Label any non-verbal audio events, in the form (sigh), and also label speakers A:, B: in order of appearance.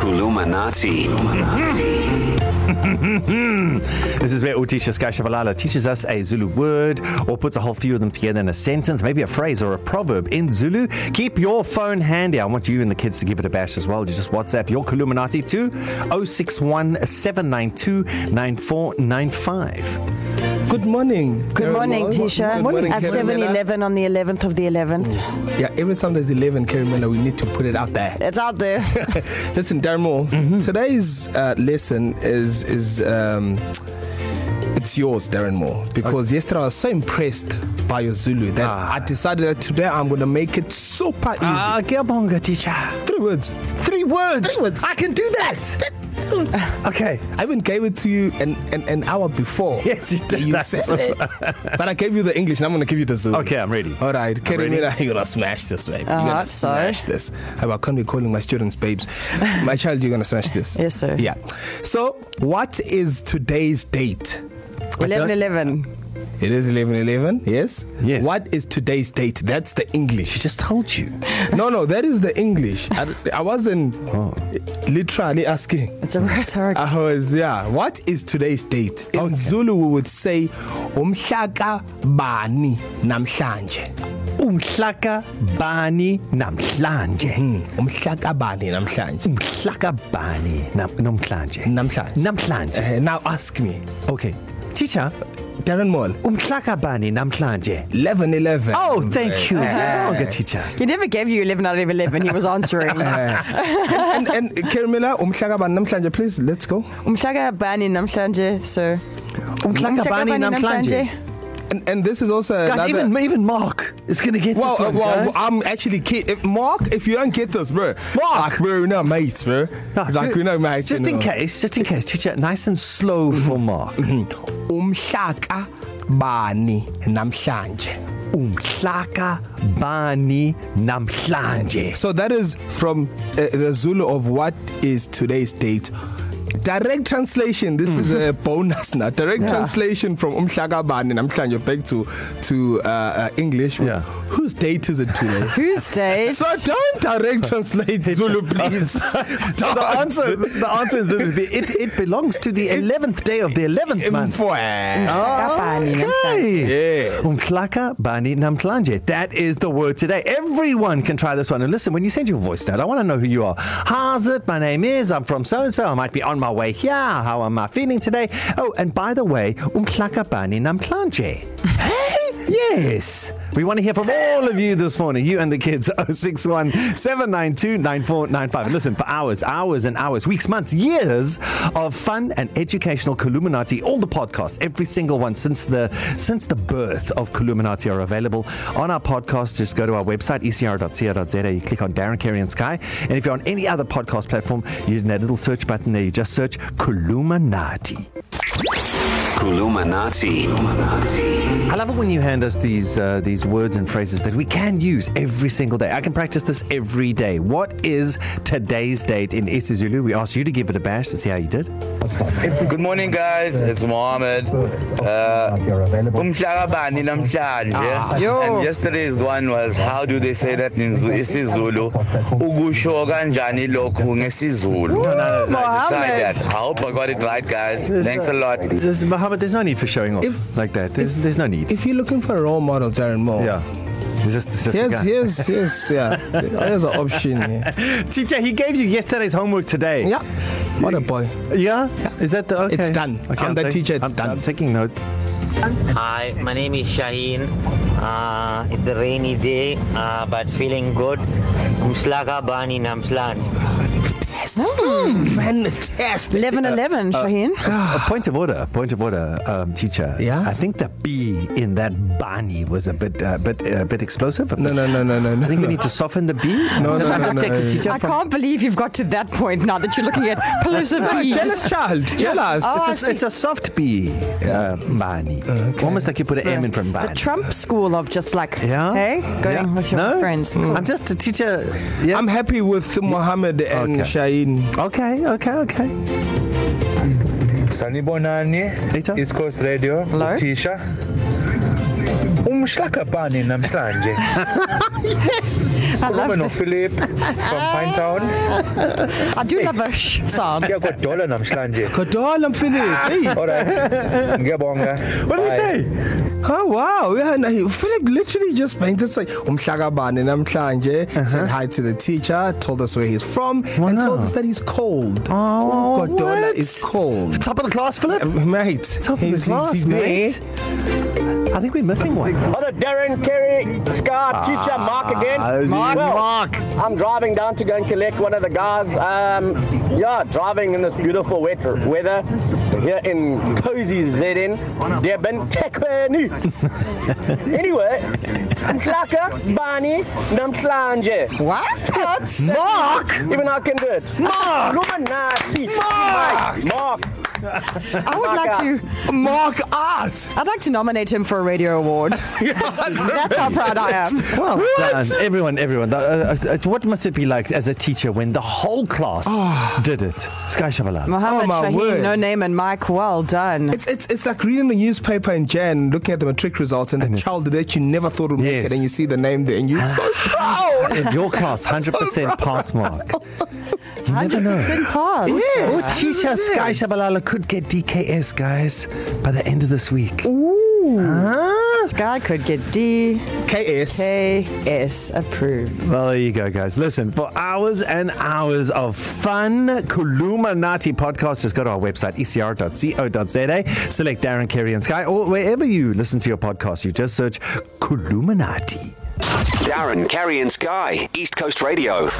A: Kulumanati.
B: This is where Utisha Skashabalala teaches us a Zulu word or puts a whole few of them together in a sentence, maybe a phrase or a proverb in Zulu. Keep your phone handy. I want you and the kids to give it a bash as well. You just WhatsApp your Kuluminati to 061 792 9495.
C: Good morning.
D: Good
C: Carol
D: morning,
C: Moore.
D: Tisha.
C: Good morning, Mm.
D: At
C: Carol
D: 7
C: Miller.
D: 11 on the 11th of the 11th.
C: Yeah, every time there's 11 Carrie Miller, we need to put it out there. (laughs)
D: It's out there.
C: Listen, Darmo, mm-hmm. today's uh, lesson is is um, it's yours, Darren Moore, because okay. yesterday I was so impressed by your Zulu that ah. I decided that today I'm going to make it super easy. Ah.
B: Gabonga, teacher.
C: Three words.
B: Three words.
C: Three words.
B: I can do that. (laughs) Okay.
C: I even gave it to you an, an, an hour before.
B: Yes, you did.
C: You
B: That's
C: said it. (laughs) but I gave you the English, and I'm going to give you the Zulu.
B: Okay, I'm ready.
C: All right, Carrie
B: ready.
C: Miller, (laughs) you're going to smash this, babe. You're
D: Uh-huh,
C: going to
D: sorry.
C: smash this. Oh, I can't be calling my students babes. My child, you're going to smash this.
D: (laughs) Yes, sir.
C: Yeah. So, what is today's date?
D: 11 11.
C: It is 11 11, yes?
B: Yes.
C: What is today's date? That's the English.
B: Just told you.
C: no, no, that is the
B: (laughs)
C: English. I, I wasn't oh. literally asking.
D: It's a rhetoric.
C: I was, yeah. What is today's date? In okay. Zulu, we would say, Umshaka bani namhlanje.
B: Umhlaka bani namhlanje.
C: Hmm. Umshaka bani namhlanje.
B: Umhlaka bani nam- namhlanje.
C: Namhlanje.
B: Namhlanje.
C: Uh, now ask me,
B: Okay. Teacher,
C: Darren Moll,
B: umhlaka bani namhlanje?
C: 11 11.
B: Oh, thank you. Gabonga, teacher.
D: He never gave you 11 out of 11. He was answering.
C: and, and Kermila, umshaka bani namhlanje, please, let's go.
D: Umhlaka bani namhlanje, sir.
B: Umhlaka bani namhlanje.
C: And, and this is also
B: Guys,
C: another.
B: even even Mark is gonna get
C: Well,
B: this
C: uh,
B: one.
C: well,
B: guys.
C: I'm actually kid. If Mark, if you don't get this, bro, Mark, like, bro, we're not mates, bro.
B: Ah,
C: Like
B: ju-
C: we're not mates.
B: Just
C: you
B: in
C: know. (clears throat)
B: case, just in case, teacher, nice and slow for
C: (laughs)
B: Mark.
C: Umshaka bani namhlanje.
B: Umhlaka bani namhlanje.
C: So that is from uh, the Zulu of what is today's date. Direct translation. This
B: (laughs)
C: is a bonus now. Direct yeah. translation from umshaka bani namhlanje back to to uh, uh, English.
B: Yeah.
C: Whose date is it today?
D: Whose date?
C: So don't direct (laughs) translate Zulu, please.
B: So the answer, the answer in Zulu would be it. It belongs to the eleventh day of the eleventh month.
C: Mfwe.
D: Umhlaka bani namhlanje.
C: Yes.
B: Umklaka bani namklanje. That is the word today. Everyone can try this one. And listen, when you send your voice note, I want to know who you are. How's it? My name is. I'm from so and so. I might be on my way here. How am I feeling today? Oh, and by the way, umklaka bani namklanje. Yes. We want to hear from all of you this morning, you and the kids, (laughs) 061 792 9495. And listen, for hours, hours and hours, weeks, months, years of fun and educational Columinati. All the podcasts, every single one since the since the birth of Columinati are available on our podcast. Just go to our website, E ecr.co.za. You click on Darren Carey and Sky. And if you're on any other podcast platform, using that little search button there, you just search Columinati.
A: Kulumanati. Kulumanati.
B: I love it when you hand us these uh, these words and phrases that we can use every single day. I can practice this every day. What is today's date in isiZulu? We asked you to give it a bash to see how you did.
E: Good morning, guys. It's Mohammed. Uh, Umhlabani namhlanje. And yesterday's one was how do they say that in Zu- isiZulu? Ukusho kanjani lokhu ngesiZulu?
B: no,
E: So I
D: Mohammed.
E: decided that. I hope I got it right, guys. Thanks a lot.
B: Listen, Muhammad, there's no need for showing off if,
C: If-
B: like that. There's if, there's no need. If,
C: If you're looking for a role model, Darren Moore.
B: yeah. It's just, it's just the
C: Yes,
B: guy.
C: yes, yes, yeah. There's an option. Yeah.
B: (gasps) Teacher, he gave you yesterday's homework today.
C: yeah. What a boy.
B: Yeah? Is that the okay?
C: It's done. I'm the
B: taking-
C: teacher, it's
B: I'm,
C: done.
B: I'm taking note.
F: Hi, my name is Shaheen. Uh, it's a rainy day, uh, but feeling good. Umslaga bani namslan.
C: Fantastic.
D: 11 11, Shaheen.
B: A point of order, point of order, um, teacher.
C: Yeah?
B: I think the B in that bani was a bit, uh, bit, uh, bit explosive. A
C: No,
B: bit
C: no, no, no, no,
B: I think we
C: no.
B: need to soften the B. No,
C: no, no,
B: check
C: no,
B: the
C: no.
B: teacher
D: I
B: from-
D: can't believe you've got to that point now that you're looking at Palooza
C: Jealous
D: Bees.
C: child. Jealous.
D: Oh, I
B: It's, it's a soft B, uh, Bani. Okay. Almost like you put an M in front of
D: The
B: Bani.
D: Trump school of just like,
B: Yeah.
D: hey, going
B: yeah.
D: yeah. with your
B: no?
D: no? friends.
B: Mm. I'm just a teacher. Yeah.
C: I'm happy with Mohammed
B: Okay.
C: and okay. Shaheen.
B: okay, okay, okay.
G: Sanibonani,
B: Peter?
G: East Coast Radio,
D: Hello?
B: (laughs)
G: Tisha. Umshlakabani namhlanje.
D: I love
G: Ukhuluma
D: it.
G: nophilip from
B: (laughs)
G: pinetown
D: I do love a sh sound.
G: ngiyagodola namhlanje
C: Godol, I'm feeling. Hey.
G: allright ngiyabonga
B: What did he
G: Bye.
B: say?
C: Oh wow, yeah, no, he, Philip literally just painted say umhlakabane namhlanje uh-huh. said hi to the teacher, told us where he's from, wow. and told us that he's cold.
B: Oh,
C: Godola
B: what?
C: is cold.
B: Top of the class, Philip?
C: Mate,
B: Top of the class,
C: (laughs)
B: mate. I think we're missing one.
H: Brother Darren, Kerry, Scott, teacher Mark again.
B: Mark,
H: Well,
B: Mark.
H: I'm driving down to go and collect one of the guys. Um, yeah, driving in this beautiful wet weather here in cozy ZN, Durban, Tekwenu. anyway, Mklaka, Bani, Namslanje.
D: What?
B: Mark!
H: Even I can do it.
B: Mark!
H: Luminati.
B: Mark!
H: Mark.
D: I would like to.
C: Mark Art.
D: I'd like to nominate him for a radio award. (laughs) That's how proud I (laughs) am.
B: Well done. Everyone, everyone. Uh, uh, uh, what must it be like as a teacher when the whole class oh. did it? Sky Shabala.
D: Mohammed
C: my
D: Shaheen,
C: word.
D: no name, and Mike. Well done.
C: It's, it's it's like reading the newspaper in Jan, looking at the matric results, and the child that you never thought would make
B: Yes.
C: it, and you see the name there, and
B: (sighs)
C: you're so proud.
B: In your class, 100% pass mark. You never know.
D: 100% pass.
B: Or
C: Yes.
B: teacher Sky Shabalala could get DKS, guys, by the end of this week.
C: Ooh.
B: Huh?
D: Sky could get D
C: KS.
D: K S approved.
B: Well, there you go, guys. Listen, for hours and hours of fun, Kulumanati podcast, just go to our website, E ecr.co.za, select Darren, Kerry, and Sky, or wherever you listen to your podcast, you just search Kulumanati.
A: Darren, Carrie, and Sky, East Coast Radio.